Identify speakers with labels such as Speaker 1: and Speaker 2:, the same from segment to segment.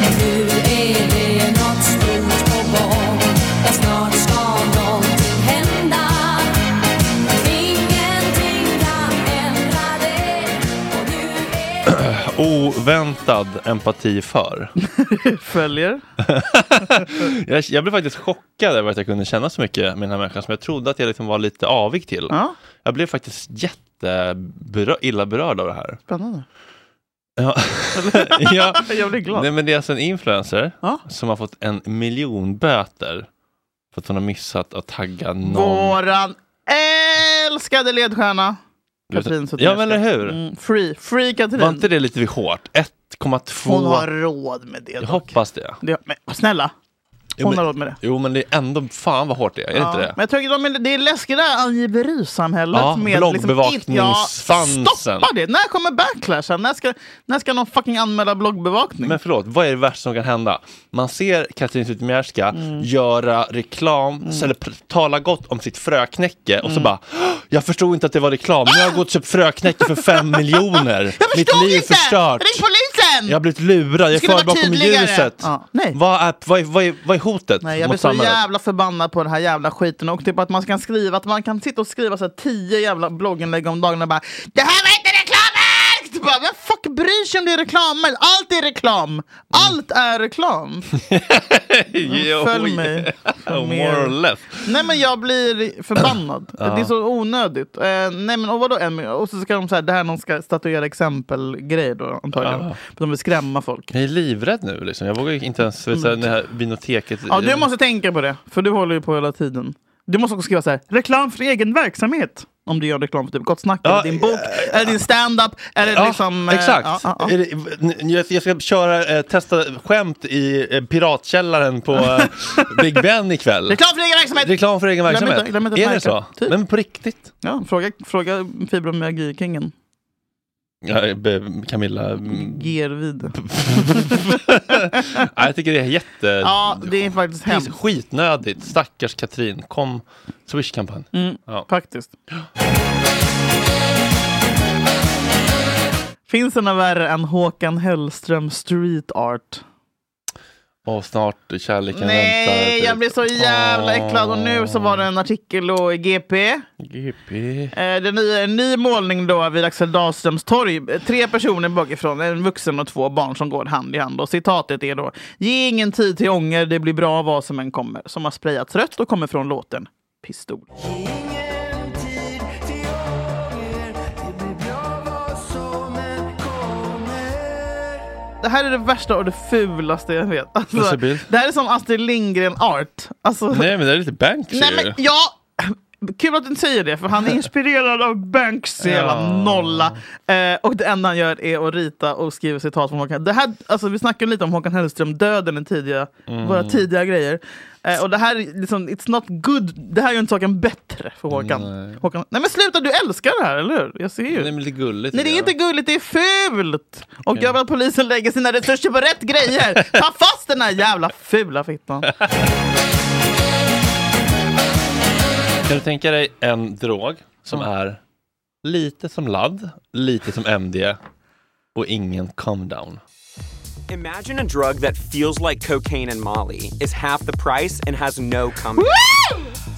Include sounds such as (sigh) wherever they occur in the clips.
Speaker 1: Nu är det något stort på gång och snart ska någonting hända. Ingenting kan ändra det och nu är det
Speaker 2: Oväntad empati för.
Speaker 3: Följer.
Speaker 2: Jag, jag blev faktiskt chockad över att jag kunde känna så mycket med den här människan som jag trodde att jag liksom var lite avig till.
Speaker 3: Ja,
Speaker 2: Jag blev faktiskt jätteberö- illa berörd av det
Speaker 3: (laughs)
Speaker 2: här. (laughs)
Speaker 3: spännande.
Speaker 2: Ja. ja.
Speaker 3: Jag blir glad.
Speaker 2: Nej, men det är alltså en influencer
Speaker 3: Ja.
Speaker 2: som har fått en miljon böter för att hon har missat att tagga någon.
Speaker 3: Våran älskade ledstjärna. Katrin Zytomierska.
Speaker 2: Ja, men eller hur?
Speaker 3: Mm, free, free Katrin.
Speaker 2: Var inte det lite hårt? 1,2.
Speaker 3: Hon har råd med det
Speaker 2: Jag
Speaker 3: dock.
Speaker 2: hoppas det.
Speaker 3: det men, snälla,
Speaker 2: Jo,
Speaker 3: hon
Speaker 2: men-
Speaker 3: har råd med det.
Speaker 2: Jo, men det är ändå fan vad hårt det är. Är det
Speaker 3: Ja,
Speaker 2: inte det?
Speaker 3: Men jag tycker de, är- det är läskigt det här angiverisamhället.
Speaker 2: Ja,
Speaker 3: med
Speaker 2: bloggbevakningsfansen.
Speaker 3: Liksom, ja, stoppa det! När kommer backlashen? När ska, när ska någon fucking anmäla bloggbevakning?
Speaker 2: Men förlåt, vad är det värsta som kan hända? Man ser Katrin Zytomierska
Speaker 3: Mm.
Speaker 2: göra reklam, eller pr- tala gott om sitt fröknäcke och
Speaker 3: Mm.
Speaker 2: så bara "Åh, Jag förstod inte att det var reklam, nu har jag gått och köpt fröknäcke för fem miljoner.
Speaker 3: (laughs) jag
Speaker 2: Mitt
Speaker 3: förstod
Speaker 2: liv är
Speaker 3: inte!
Speaker 2: förstört.
Speaker 3: Ring polisen!
Speaker 2: Jag har blivit lurad, jag är
Speaker 3: skulle
Speaker 2: förd
Speaker 3: vara
Speaker 2: bakom
Speaker 3: tydligare.
Speaker 2: ljuset.
Speaker 3: Ja, nej.
Speaker 2: Vad, är, vad, är, vad, är, vad är hotet
Speaker 3: Nej, jag blir
Speaker 2: mot
Speaker 3: så
Speaker 2: samhället?
Speaker 3: jävla förbannad på den här jävla skiten och typ att man ska skriva, att man kan sitta och skriva så här tio jävla blogginlägg om dagen och bara Det här var inte reklamverk! Du bara, Vem fuck bryr sig om det är reklam? Men Allt är reklam! Allt är
Speaker 2: (laughs)
Speaker 3: reklam!
Speaker 2: Jo, (laughs)
Speaker 3: Följ mig. Följ med.
Speaker 2: Oh, More or less.
Speaker 3: Nej men jag
Speaker 2: (clears throat)
Speaker 3: blir förbannad. Det är så onödigt. Eh, nej men och vadå en miljon? Och så ska de säga det här är någon ska statuera exempelgrej då antagligen.
Speaker 2: Ja.
Speaker 3: För de vill skrämma folk.
Speaker 2: Jag är livrädd nu, liksom. jag vågar ju inte ens vet, såhär, det här vinoteket.
Speaker 3: Mm. Ja du måste tänka på det. För du håller ju på hela tiden. Du måste också skriva så här, reklam för egen verksamhet. Om du gör reklam för typ Gott Snack,
Speaker 2: Ja,
Speaker 3: eller din bok, eller din stand-up. Eller
Speaker 2: Ja,
Speaker 3: liksom, eh,
Speaker 2: exakt.
Speaker 3: ja, ja, ja.
Speaker 2: Är det- n- Jag, jag ska köra, eh, testa skämt i eh, piratkällaren på
Speaker 3: (laughs)
Speaker 2: eh, Big Ben ikväll.
Speaker 3: Reklam för egen verksamhet!
Speaker 2: Reklam för egen
Speaker 3: Glöm inte-
Speaker 2: verksamhet.
Speaker 3: glöm inte att
Speaker 2: är det
Speaker 3: märka.
Speaker 2: så?
Speaker 3: Typ.
Speaker 2: Nej, men på riktigt.
Speaker 3: Ja, fråga, fråga fibromyalgi-kingen.
Speaker 2: Ja, eh, be- Camilla. mm,
Speaker 3: Gervide.
Speaker 2: Nej, jag tycker det är jätte...
Speaker 3: Ja, det är faktiskt
Speaker 2: det är
Speaker 3: hemskt.
Speaker 2: skitnödigt. Stackars Katrin. Kom, Swish-kampanj.
Speaker 3: Mm.
Speaker 2: Ja.
Speaker 3: Faktiskt. Finns det något värre än Håkan Hellström street art?
Speaker 2: Och snart kärleken väntar.
Speaker 3: Nej,
Speaker 2: typ.
Speaker 3: jag blir så jävla
Speaker 2: Åh.
Speaker 3: äcklad. Och nu så var det en artikel då i GP.
Speaker 2: GP.
Speaker 3: Eh, Det är ny- en ny målning då vid Axel Dahlströms torg. Eh, Tre personer bakifrån, en vuxen och två barn som går hand i hand. Och citatet är då Ge ingen tid till ånger, det blir bra vad som än kommer. Som har sprayats rött och kommer från låten Pistol. Det här är det värsta och det fulaste jag vet. Alltså,
Speaker 2: Lucibil.
Speaker 3: det här är som Astrid Lindgren-art. Alltså,
Speaker 2: Nej, men det är lite Banksy.
Speaker 3: Nej men ja! Kul att du inte säger det,
Speaker 2: (laughs)
Speaker 3: för han är inspirerad av Banksy, jävla nolla. Eh, och det enda han gör är att rita och skriva citat från Håkan. Det här, alltså, vi snackade lite om Håkan Hellström, döden i tidiga,
Speaker 2: Mm.
Speaker 3: våra tidiga grejer. Eh, och det här är liksom, it's not good. Det här gör inte saken bättre för Håkan. Nej. Håkan. Nej men sluta, du älskar det här, eller hur? Jag ser ju.
Speaker 2: Nej, men lite gulligt.
Speaker 3: Nej det är
Speaker 2: tycker
Speaker 3: inte
Speaker 2: jag.
Speaker 3: gulligt, det är fult! Och jag vill att polisen lägger sina resurser på rätt grejer! Ta fast den här jävla
Speaker 2: (laughs)
Speaker 3: fula fittan!
Speaker 2: Kan du tänka dig en drog som
Speaker 3: Mm.
Speaker 2: är lite som ladd, lite som MD och ingen come down?
Speaker 4: Imagine a drug that feels like cocaine and Molly is half the price and has no comeback.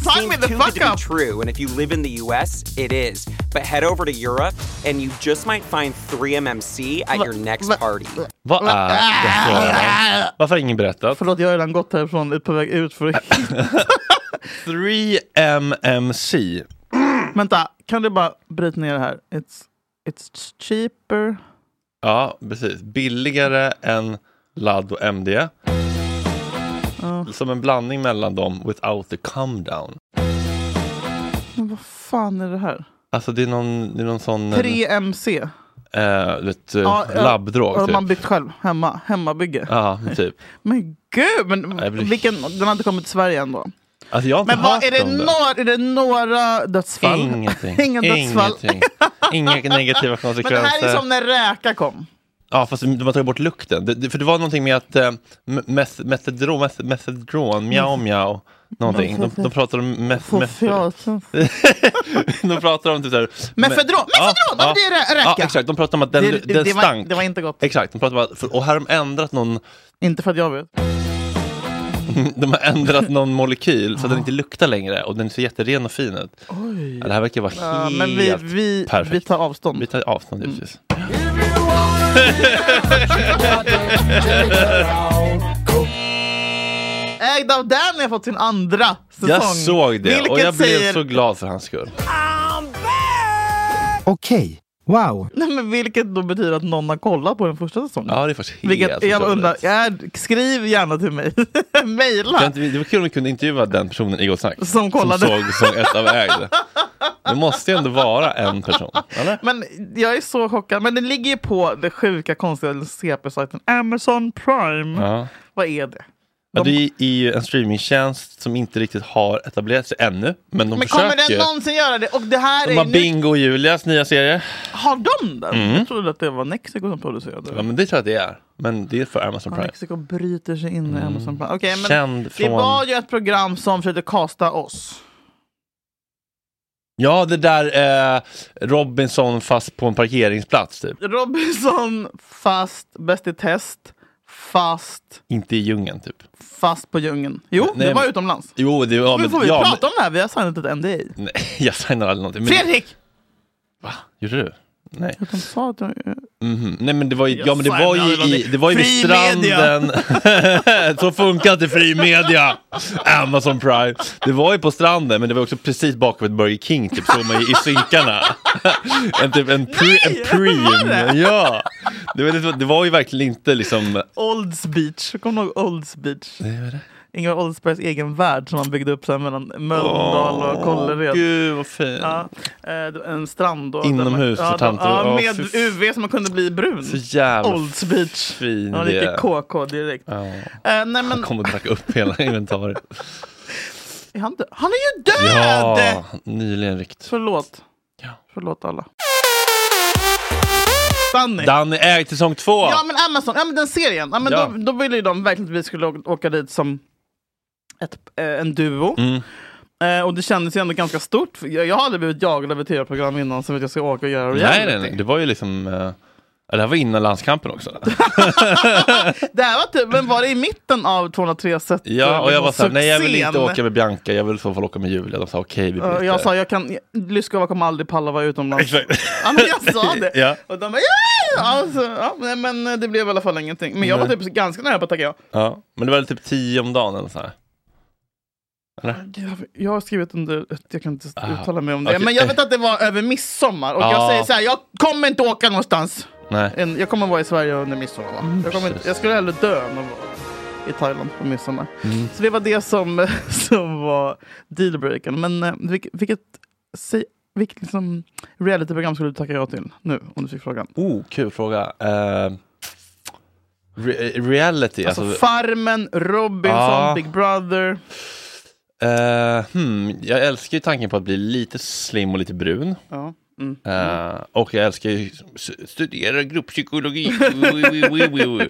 Speaker 3: Sign me
Speaker 4: seem
Speaker 3: the
Speaker 4: too good
Speaker 3: fuck
Speaker 4: to
Speaker 3: up!
Speaker 4: be true, and if you live in the U.S., it is. But head over to Europe, and you just might find 3MMC at your next party.
Speaker 2: Vad är detta? Varför har ingen berättat?
Speaker 3: Mm. Ah! Förlåt, jag har redan gått härifrån på väg ut för att...
Speaker 2: (laughs) 3MMC.
Speaker 3: Vänta, kan du bara bryta ner det här? It's, it's cheaper.
Speaker 2: Ja, precis. Billigare än ladd och MD. Som en blandning mellan dem without the come down.
Speaker 3: Men vad fan är det här?
Speaker 2: Alltså det är någon, det är någon sån
Speaker 3: 3MC.
Speaker 2: eh, du vet, eh,
Speaker 3: Ja, ja.
Speaker 2: labbdrog.
Speaker 3: Har man
Speaker 2: Typ.
Speaker 3: byggt själv, hemma, hemmabygge.
Speaker 2: Ja, typ.
Speaker 3: Men gud, men
Speaker 2: Jag blir-
Speaker 3: vilken, den har inte kommit till Sverige ändå.
Speaker 2: Alltså jag har inte
Speaker 3: Men vad,
Speaker 2: hört
Speaker 3: är, det
Speaker 2: om det.
Speaker 3: några, är det några dödsfall? (laughs)
Speaker 2: Ingenting.
Speaker 3: Ingen dödsfall.
Speaker 2: Ingenting. Inga
Speaker 3: (laughs)
Speaker 2: negativa
Speaker 3: Men det
Speaker 2: konsekvenser.
Speaker 3: här är som när räka kom.
Speaker 2: Ja, fast de har tagit bort lukten. Det, det, för det var någonting med att eh, me- meth- methadron, meth- methadron,
Speaker 3: Mm.
Speaker 2: miau miau, någonting. De, de pratar om meth, meth,
Speaker 3: Fofiaten.
Speaker 2: (laughs) De pratar om typ såhär...
Speaker 3: Methadron! Methadron! Ja, men det är rä-
Speaker 2: Ja,
Speaker 3: räka.
Speaker 2: exakt. De pratar om att den,
Speaker 3: Det- det-
Speaker 2: den
Speaker 3: det var-
Speaker 2: stank.
Speaker 3: det var inte gott.
Speaker 2: Exakt. De pratar om att, för- och här har de ändrat någon, (laughs)
Speaker 3: Inte för att jag vet.
Speaker 2: de har ändrat någon molekyl så att den inte luktar längre och den ser jätteren och fin ut. Ja, det här verkar vara
Speaker 3: Ja,
Speaker 2: helt
Speaker 3: men vi, vi, Mm.
Speaker 2: perfekt.
Speaker 3: vi tar avstånd.
Speaker 2: Vi tar avstånd givetvis.
Speaker 3: Ägd av Danny har fått sin andra säsong.
Speaker 2: Jag såg det
Speaker 3: Vilket
Speaker 2: och jag
Speaker 3: säger...
Speaker 2: blev så glad för hans skull.
Speaker 5: Okej. Wow.
Speaker 3: Nej, men vilket då betyder att någon har kollat på den första säsongen.
Speaker 2: Ja, det är faktiskt helt
Speaker 3: vilket jag
Speaker 2: otroligt.
Speaker 3: undrar, jag, skriv gärna till mig. (laughs)
Speaker 2: Kan
Speaker 3: Maila.
Speaker 2: inte vi- Det var kul om vi kunde intervjua den personen i Gott Snack.
Speaker 3: Som kollade.
Speaker 2: Som såg säsong ett av Ägd. Det måste ju ändå vara en person. Eller?
Speaker 3: Men jag är så chockad. Men det ligger ju på det sjuka konstiga CP-sajten Amazon Prime.
Speaker 2: Ja.
Speaker 3: Vad är det?
Speaker 2: Ja, det är ju en streamingtjänst som inte riktigt har etablerat sig ännu, men de
Speaker 3: Men
Speaker 2: försöker.
Speaker 3: kommer den någonsin göra det? Och det här
Speaker 2: de
Speaker 3: är
Speaker 2: har
Speaker 3: ju nytt.
Speaker 2: Bingo och Julias nya serie.
Speaker 3: Har de den? Jag trodde att det var Nexiko som producerade
Speaker 2: Ja,
Speaker 3: den.
Speaker 2: men det tror jag att det är. Men det är för Amazon
Speaker 3: Ja,
Speaker 2: Prime. Mm.
Speaker 3: Nexiko bryter sig in i Amazon Prime. Okej, men
Speaker 2: Känd
Speaker 3: det
Speaker 2: från-
Speaker 3: var ju ett program som försökte kasta oss.
Speaker 2: Ja, det där eh, Robinson fast på en parkeringsplats typ.
Speaker 3: Robinson, fast Bäst i test, fast,
Speaker 2: Inte i djungeln typ.
Speaker 3: fast på djungeln. Jo,
Speaker 2: Nej,
Speaker 3: det var
Speaker 2: men-
Speaker 3: utomlands.
Speaker 2: Jo, det ja,
Speaker 3: Nu får vi
Speaker 2: ja,
Speaker 3: prata om det här, vi har signat ett NDA.
Speaker 2: men, nej, (laughs) jag signar aldrig någonting. Men,
Speaker 3: Fredrik!
Speaker 2: Gjorde du? Nej.
Speaker 3: De sa att jag...
Speaker 2: Mhm. Nej men det var ju,
Speaker 3: Jag
Speaker 2: ja, men det var
Speaker 3: signar
Speaker 2: ju,
Speaker 3: aldrig
Speaker 2: i, det var ju vid
Speaker 3: Fri media.
Speaker 2: stranden. (laughs) Så funkar inte fri media. Amazon Prime. Det var ju på stranden men det var också precis bakom ett Burger King typ såg man ju i synkarna. (laughs) en typ en, pre, en
Speaker 3: var
Speaker 2: preem. Ja. Det var, det, var, det var ju verkligen inte liksom.
Speaker 3: Olds Beach, kommer du ihåg Olds Beach? Ingvar Oldsbergs egen värld som han byggde upp så här mellan Mölndal och Kållered.
Speaker 2: Gud vad fint.
Speaker 3: Ja, eh, en strand. Då,
Speaker 2: Inomhus
Speaker 3: där man-
Speaker 2: för tanter.
Speaker 3: Ja,
Speaker 2: Ja,
Speaker 3: med
Speaker 2: fy f-
Speaker 3: UV så man kunde bli brun.
Speaker 2: Så jävla
Speaker 3: Olds Beach.
Speaker 2: fin
Speaker 3: ja, lite
Speaker 2: idé.
Speaker 3: KK direkt. Eh, nej, men,
Speaker 2: Kommer att dracka upp hela inventariet.
Speaker 3: är han, dö- han är ju död!
Speaker 2: Ja, nyligen ryckt.
Speaker 3: Förlåt. Förlåt alla. Danny.
Speaker 2: Danny ägt säsong två.
Speaker 3: Ja men Amazon, ja, men den serien. Ja, men
Speaker 2: Ja.
Speaker 3: Då, då ville ju de verkligen att vi skulle å- åka dit som ett, eh, en duo.
Speaker 2: Mm.
Speaker 3: Eh, och det kändes ju ändå ganska stort. För Jag, jag har aldrig blivit jagad av ett tv-program innan som att jag ska åka och göra
Speaker 2: Nej,
Speaker 3: reality.
Speaker 2: nej, nej, det var ju liksom... eh, ja, det här var innan landskampen också.
Speaker 3: Det här var typ, men var det i mitten av 203 set?
Speaker 2: Ja, och jag var såhär, nej jag vill inte
Speaker 3: succén?
Speaker 2: åka med Bianca, jag vill i så fall åka med Julia. De sa okej, vi
Speaker 3: Eh,
Speaker 2: byter.
Speaker 3: Jag sa, jag kan, Lyskova kommer aldrig palla vara utomlands.
Speaker 2: Exakt.
Speaker 3: Ja, men
Speaker 2: (laughs)
Speaker 3: jag sa det.
Speaker 2: Ja.
Speaker 3: Och de bara, ja! Alltså, ja, nej, men eh, det blev i alla fall ingenting. Men jag var typ ganska nära på att tacka ja.
Speaker 2: (laughs) Ja, men det var typ tio om dagen eller så här.
Speaker 3: Jag, jag har skrivit under, jag kan inte
Speaker 2: Ah,
Speaker 3: uttala mig om det.
Speaker 2: okej. Ah.
Speaker 3: Men jag vet att det var över midsommar. Och jag
Speaker 2: Ja.
Speaker 3: säger så här, jag kommer inte åka någonstans.
Speaker 2: Nej.
Speaker 3: En- Jag kommer vara i Sverige under midsommar. Va? Jag, kommer inte, jag skulle hellre dö än att vara i Thailand på midsommar.
Speaker 2: Mm.
Speaker 3: Så det var det som, (laughs) som var dealbreakern. Men eh, vilket, vilket, säg- vilket liksom realityprogram skulle du tacka ja till nu? Om du fick frågan.
Speaker 2: Oh, kul fråga. Eh, re- reality,
Speaker 3: Alltså,
Speaker 2: alltså...
Speaker 3: Farmen, Robinson,
Speaker 2: Ja.
Speaker 3: Big Brother.
Speaker 2: eh, hmm, jag älskar ju tanken på att bli lite slim och lite brun.
Speaker 3: Ja. mm,
Speaker 2: Eh, och jag älskar ju s- studera grupppsykologi.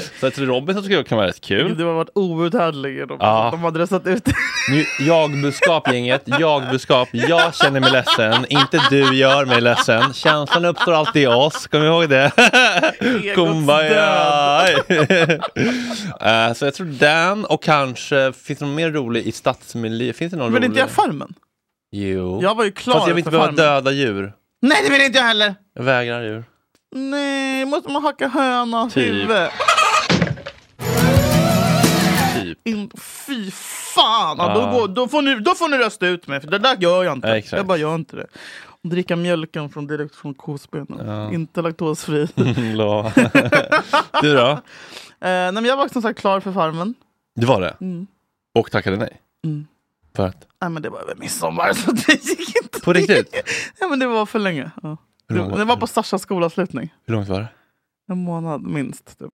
Speaker 2: (laughs) så att Robinson skulle kan vara rätt kul.
Speaker 3: Det var varit outhärdlig. genom
Speaker 2: Ja.
Speaker 3: att De hade dressat ut. (laughs)
Speaker 2: Nu, jag-budskap gänget, jag-budskap. Jag känner mig ledsen, inte du gör mig ledsen. Känslan uppstår alltid i oss, kom ihåg
Speaker 3: (laughs)
Speaker 2: det. Kumbaya! (laughs) Eh, så jag tror den och kanske, finns det någon mer rolig i stadsmiljö? Finns det någon
Speaker 3: Men
Speaker 2: rolig?
Speaker 3: inte jag Farmen?
Speaker 2: Jo.
Speaker 3: Jag var ju klar
Speaker 2: Fast jag vill inte
Speaker 3: för
Speaker 2: behöva
Speaker 3: Farmen.
Speaker 2: döda djur.
Speaker 3: Nej, det vill inte jag heller!
Speaker 2: Jag vägrar djur.
Speaker 3: Nej, måste man hacka höna av
Speaker 2: Typ.
Speaker 3: huvud?
Speaker 2: Typ. (laughs)
Speaker 3: In, fy fan! Ja, då, går, då, får ni, då får ni rösta ut mig, för det där gör jag inte.
Speaker 2: Ja, exakt.
Speaker 3: Jag bara gör inte det. Och dricka mjölken från, direkt från kosbenen. Inte laktosfri. (laughs) eh,
Speaker 2: Lå. (laughs) du då?
Speaker 3: nej, men jag var som sagt klar för Farmen.
Speaker 2: Det var det? Och tackade nej? För att?
Speaker 3: Nej, men det var över midsommar, så det gick inte.
Speaker 2: På riktigt?
Speaker 3: Nej, men det var för länge. Ja.
Speaker 2: Hur
Speaker 3: Det,
Speaker 2: långt,
Speaker 3: det var på Sashas skolavslutning.
Speaker 2: hur långt var det?
Speaker 3: En månad minst. Typ.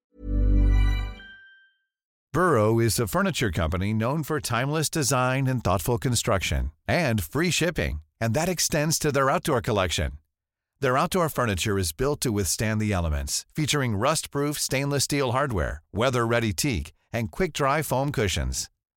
Speaker 6: Burrow is a furniture company known for timeless design and thoughtful construction and free shipping, and that extends to their outdoor collection. Their outdoor furniture is built to withstand the elements, featuring rust-proof stainless steel hardware, weather-ready teak, and quick-dry foam cushions.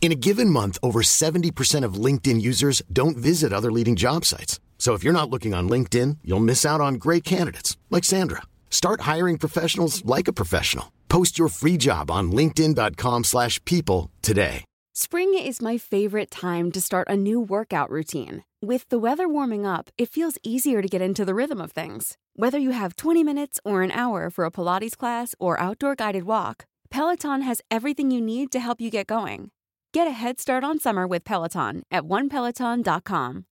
Speaker 7: In a given month, over 70% of LinkedIn users don't visit other leading job sites. So if you're not looking on LinkedIn, you'll miss out on great candidates like Sandra. Start hiring professionals like a professional. Post your free job on linkedin.com/people slash people today.
Speaker 8: Spring is my favorite time to start a new workout routine. With the weather warming up, it feels easier to get into the rhythm of things. Whether you have 20 minutes or an hour for a Pilates class or outdoor guided walk, Peloton has everything you need to help you get going. Get a head start on summer with Peloton at onepeloton.com.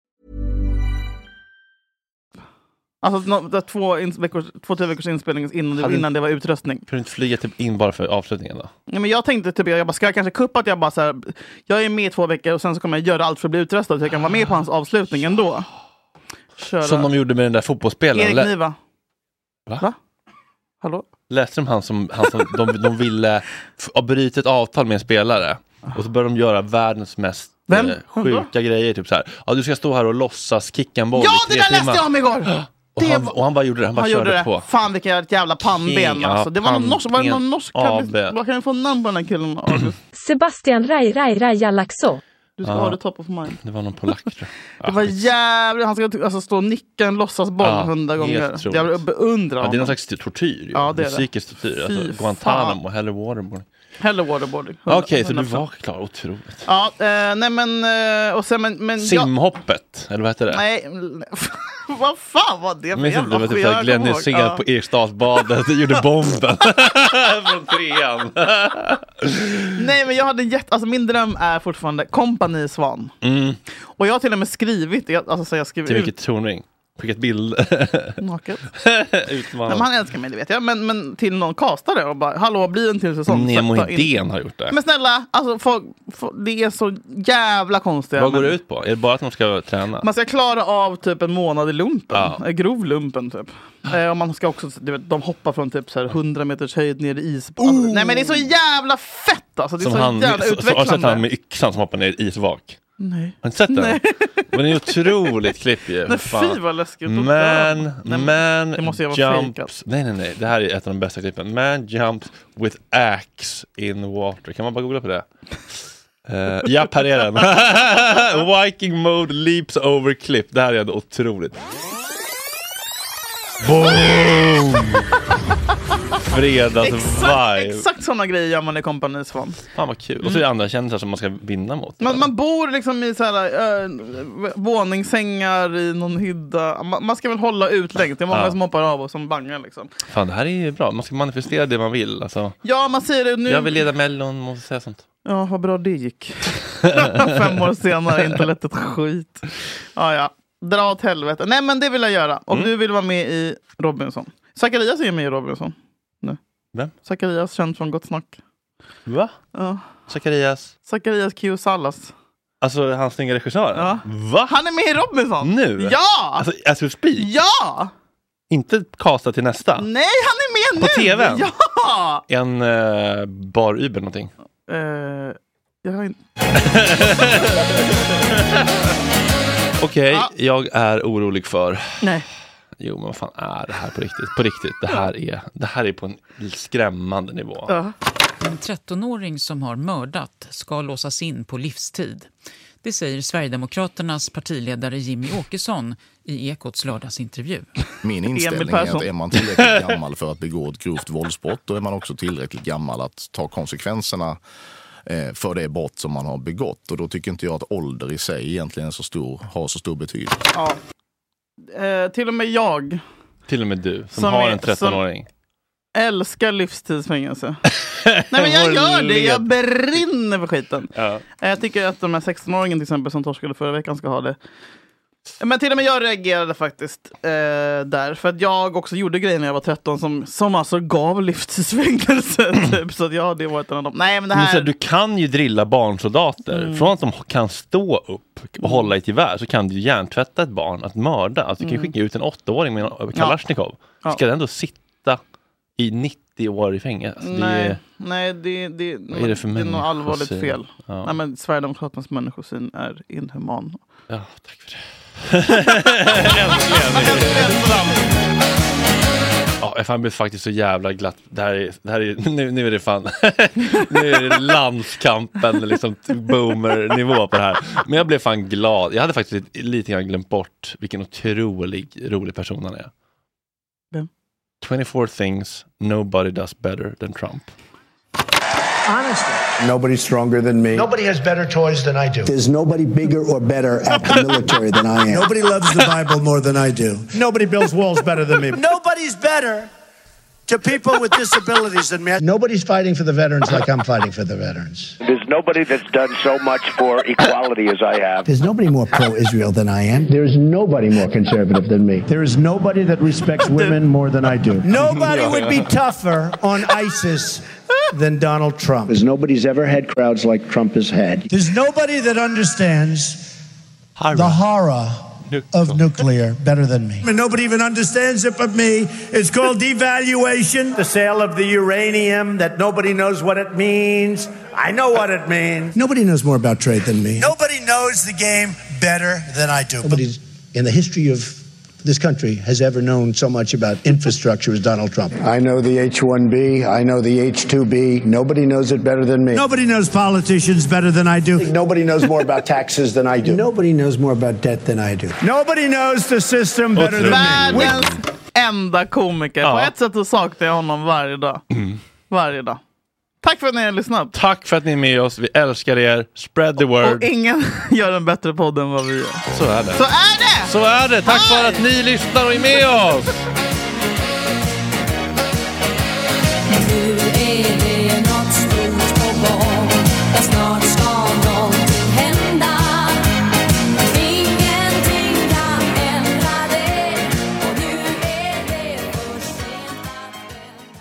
Speaker 3: Alltså nå- det var två, ins- veckors, två, tre veckors inspelning innan,
Speaker 2: Hade-
Speaker 3: det, innan det var utröstning.
Speaker 2: Kunde du inte flyga typ in bara för avslutningen då?
Speaker 3: Nej, men jag tänkte typ, jag bara, ska jag kanske kuppa att jag bara så här, jag är med i två veckor och sen så kommer jag göra allt för att bli utröstad så jag kan vara med på hans avslutning ändå. Köra.
Speaker 2: Som de gjorde med den där fotbollsspelaren.
Speaker 3: Erik
Speaker 2: Lä-
Speaker 3: Niva.
Speaker 2: Va?
Speaker 3: Hallå?
Speaker 2: Läste de han som, han som de, de ville f- bryta ett avtal med en spelare och så började de göra världens mest
Speaker 3: Vem?
Speaker 2: eh, sjuka grejer. Typ så här. Ja, du ska stå här och låtsas kicka en boll
Speaker 3: Ja,
Speaker 2: i
Speaker 3: det
Speaker 2: tre
Speaker 3: där läste
Speaker 2: timmar.
Speaker 3: jag om igår!
Speaker 2: (gasps) Och
Speaker 3: Det
Speaker 2: han,
Speaker 3: var-
Speaker 2: och han bara gjorde det, han bara
Speaker 3: Han
Speaker 2: körde
Speaker 3: gjorde det.
Speaker 2: på.
Speaker 3: Fan vilka jävla pannben
Speaker 2: King, ja,
Speaker 3: alltså. Det var någon norsk, var det någon
Speaker 2: pannben.
Speaker 3: norsk? Kan vi,
Speaker 2: AB.
Speaker 3: vad kan vi få namn på den här killen? August?
Speaker 9: Sebastian Rai Rai Rai Jalaxo.
Speaker 3: Du ska ha det top of mind.
Speaker 2: Det var någon polack tror jag.
Speaker 3: Det var jävligt, han ska alltså stå och nicka en
Speaker 2: Ja,
Speaker 3: låtsasboll hundra
Speaker 2: helt
Speaker 3: gånger.
Speaker 2: otroligt.
Speaker 3: Jag beundrar
Speaker 2: Ja, det är någon
Speaker 3: honom.
Speaker 2: slags tortyr. ju.
Speaker 3: Ja, det är det.
Speaker 2: Psykisk tortyr.
Speaker 3: Fy
Speaker 2: Alltså,
Speaker 3: fan.
Speaker 2: Guantanamo och Hellre Waterboard.
Speaker 3: Hellre waterboarding.
Speaker 2: Okej,
Speaker 3: 100%.
Speaker 2: så du
Speaker 3: alltså-
Speaker 2: var klar. Otroligt.
Speaker 3: Ja, eh, nej men... Eh, och sen, men, men jag-
Speaker 2: Simhoppet, eller vad hette det?
Speaker 3: Nej, (laughs) vad fan var det
Speaker 2: Jag
Speaker 3: för
Speaker 2: minns inte,
Speaker 3: jävla
Speaker 2: det var typ
Speaker 3: skit?
Speaker 2: såhär
Speaker 3: Jag
Speaker 2: Glenn
Speaker 3: kommer ihåg.
Speaker 2: Hysén
Speaker 3: Ja.
Speaker 2: på Eriksdalsbadet, gjorde bomben (laughs) från trean.
Speaker 3: Nej men jag hade gett, alltså min dröm är fortfarande kompani Svan. Och jag har till och med skrivit, jag- alltså så jag skriver
Speaker 2: Mm. Till
Speaker 3: ut
Speaker 2: vilket Tornving? Skickat bild.
Speaker 3: naket. Nej, men
Speaker 2: Utmanande.
Speaker 3: han älskar mig det vet jag, men, men till någon kastare och bara hallå bli en till säsong.
Speaker 2: Nemo
Speaker 3: Sätta in-
Speaker 2: Idén har gjort det.
Speaker 3: Men snälla, alltså, folk, folk, det är så jävla konstiga.
Speaker 2: Vad går
Speaker 3: men-
Speaker 2: det ut på? Är det bara att de ska träna?
Speaker 3: Man ska klara av typ en månad i lumpen.
Speaker 2: Ja.
Speaker 3: Eh, Grov lumpen typ. Eh, och man ska också, du vet, de hoppar från typ så här 100 meters höjd ner i is. Alltså, nej men det är så jävla fett alltså. Det är
Speaker 2: Oh! Som
Speaker 3: så
Speaker 2: han,
Speaker 3: jävla
Speaker 2: så, så, har du sett
Speaker 3: utvecklande.
Speaker 2: han med yxan som hoppar ner i isvak?
Speaker 3: nej.
Speaker 2: Har du inte sett den?
Speaker 3: Nej.
Speaker 2: Men det är ett otroligt klipp ju.
Speaker 3: nej
Speaker 2: Fan.
Speaker 3: fy vad läskigt. Då dör
Speaker 2: Man,
Speaker 3: man. Nej,
Speaker 2: man
Speaker 3: det måste jag vara fejkad.
Speaker 2: jumps. Nej, nej, nej. Det här är ett av de bästa klippen. Man jumps with axe in water. Kan man bara googla på
Speaker 3: (laughs)
Speaker 2: det? Uh, ja, här är den. (laughs) Viking mode leaps over clip. Det här är ändå otroligt. (laughs) Boom!
Speaker 3: Exakt,
Speaker 2: Fredagsvibe.
Speaker 3: exakt sådana grejer gör man i kompani Svan.
Speaker 2: Fan vad kul. Och så är det andra kändisar som man ska vinna mot.
Speaker 3: Man, man bor liksom i så här, eh, våningssängar i någon hydda. Man, man ska väl hålla ut längst. Det är många
Speaker 2: Ja.
Speaker 3: som hoppar av och som bangar liksom.
Speaker 2: Fan, det här är ju bra. Man ska manifestera det man vill. Alltså,
Speaker 3: Ja man säger det nu.
Speaker 2: jag vill leda mellon, måste säga sånt.
Speaker 3: Ja, vad bra det gick. (laughs) Fem år senare, inte lätt ett skit.
Speaker 2: Mm.
Speaker 3: Ja, ja. Dra åt helvete. Nej, men det vill jag göra. Och du vill vara med i Robinson. Zacharias är med i Robinson. Nu.
Speaker 2: Vem?
Speaker 3: Zacharias, känd från Gott Snack.
Speaker 2: Va?
Speaker 3: Ja.
Speaker 2: Zacharias?
Speaker 3: Zacharias Kusallas.
Speaker 2: Alltså han snygga regissören?
Speaker 3: Ja.
Speaker 2: Va?
Speaker 3: Han är med i Robinson!
Speaker 2: Nu?
Speaker 3: Ja!
Speaker 2: Alltså as we speak?
Speaker 3: Ja!
Speaker 2: Inte casta till nästa?
Speaker 3: Nej, han är med
Speaker 2: På
Speaker 3: nu!
Speaker 2: TV:n?
Speaker 3: Ja!
Speaker 2: En uh, bar Uber någonting?
Speaker 3: Eh, jag har inte...
Speaker 2: Okej, jag är orolig för...
Speaker 3: Nej.
Speaker 2: Jo, men vad fan är det här på riktigt? På riktigt, det här är, det här är på en skrämmande nivå.
Speaker 3: Ja.
Speaker 10: En 13-åring som har mördat ska låsas in på livstid. Det säger Sverigedemokraternas partiledare Jimmy Åkesson i Ekots lördagsintervju.
Speaker 11: Min
Speaker 10: Emil
Speaker 11: inställning är
Speaker 10: Persson.
Speaker 11: att är man tillräckligt gammal för att begå ett grovt våldsbrott, då är man också tillräckligt gammal att ta konsekvenserna eh, för det brott som man har begått. Och då tycker inte jag att ålder i sig egentligen är så stor, har så stor betydelse.
Speaker 3: Ja. Eh, till och med jag
Speaker 2: Till och med du som,
Speaker 3: Som
Speaker 2: har
Speaker 3: är-
Speaker 2: en 13-åring. (laughs)
Speaker 3: älskar livstidsfängelse. Nej men jag
Speaker 2: Vår
Speaker 3: gör det, jag
Speaker 2: led.
Speaker 3: brinner för skiten.
Speaker 2: Ja.
Speaker 3: Eh, Jag tycker att de här 16-åringen till exempel som torskade förra veckan ska ha det. Men till och med jag reagerade faktiskt eh, där. För att jag också gjorde grejer när jag var 13 som, som alltså gav livstidsfängelse. (laughs) typ. Så att jag hade varit en av dem. Nej men det
Speaker 2: Men så här,
Speaker 3: här...
Speaker 2: du kan ju drilla barnsoldater.
Speaker 3: Mm.
Speaker 2: Från att de kan stå upp och hålla i ett gevär så kan du ju hjärntvätta ett barn att mörda. Alltså, du kan ju
Speaker 3: Mm.
Speaker 2: skicka ut en åttaåring med en Kalashnikov.
Speaker 3: Ja.
Speaker 2: Ska den då sitta i 90 år i fängelse? Alltså, det
Speaker 3: nej,
Speaker 2: är-
Speaker 3: nej det, det,
Speaker 2: Vad är det för
Speaker 3: det är något
Speaker 2: människosyn?
Speaker 3: allvarligt fel.
Speaker 2: Ja. Mm.
Speaker 3: Nej, men Sverigedemokraternas människosyn är inhuman.
Speaker 2: Ja, tack för det. Ja, jag fan blev faktiskt så jävla glatt. Det här är, det här är, nu, nu är det fan, (laughs) nu är det landskampen, liksom boomer-nivå på det här. Men jag blev fan glad. Jag hade faktiskt lite, lite grann glömt bort vilken otrolig, rolig person han är.
Speaker 3: Vem?
Speaker 2: 24 things nobody does better than Trump.
Speaker 12: Honestly,
Speaker 13: Nobody's stronger than me.
Speaker 12: nobody has better toys than I do.
Speaker 13: There's nobody bigger or better at the military than I am.
Speaker 12: Nobody loves the Bible
Speaker 13: more than I do.
Speaker 12: Nobody builds walls better than me. (laughs) Nobody's better to people with disabilities than me. Nobody's fighting for the veterans like I'm fighting for the veterans.
Speaker 14: There's nobody that's done so much for equality as I have.
Speaker 13: There's nobody more pro Israel than I am. There is nobody more conservative than me. There is nobody that respects women more than I do.
Speaker 12: (laughs) Nobody would be tougher on ISIS than Donald Trump.
Speaker 13: Because nobody's ever had crowds like Trump has had.
Speaker 12: There's nobody that understands the horror of nuclear better than me. And nobody even understands it but me. It's called devaluation. The sale of the uranium that nobody knows what it means. I know what it means.
Speaker 13: Nobody knows more about trade than me.
Speaker 12: Nobody knows the game better than I do.
Speaker 13: Nobody in the history of this country has ever known so much about infrastructure as Donald Trump. I know the H-1B. I know the H-2B. Nobody knows it better than me.
Speaker 12: Nobody knows politicians better than I do.
Speaker 13: Nobody knows more about taxes than I do. (laughs) Nobody knows more about debt than I do.
Speaker 12: Nobody knows the system better than me.
Speaker 3: Världens enda komiker. På ett sätt så saknar jag honom varje dag.
Speaker 2: Mm.
Speaker 3: Varje dag. Tack för att ni har lyssnat.
Speaker 2: Tack för att ni är med oss, vi älskar er, spread the word.
Speaker 3: Och ingen (laughs) gör en bättre podd än vad vi gör.
Speaker 2: Så är det.
Speaker 3: Så är det!
Speaker 2: Så är det, tack för att ni lyssnar och är med oss!
Speaker 1: Nu är det något stort på gång och snart ska någonting hända. Ingenting kan ändra det och nu är det för sent att vända.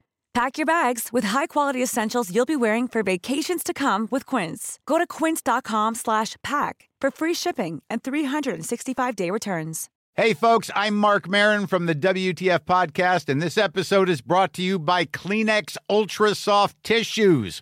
Speaker 15: Pack your bags with high-quality essentials you'll be wearing for vacations to come with Quince. Go to quince.com/pack for free shipping and 365-day returns.
Speaker 16: Hey, folks, I'm Mark Marin from the WTF Podcast, and this episode is brought to you by Kleenex Ultra Soft Tissues,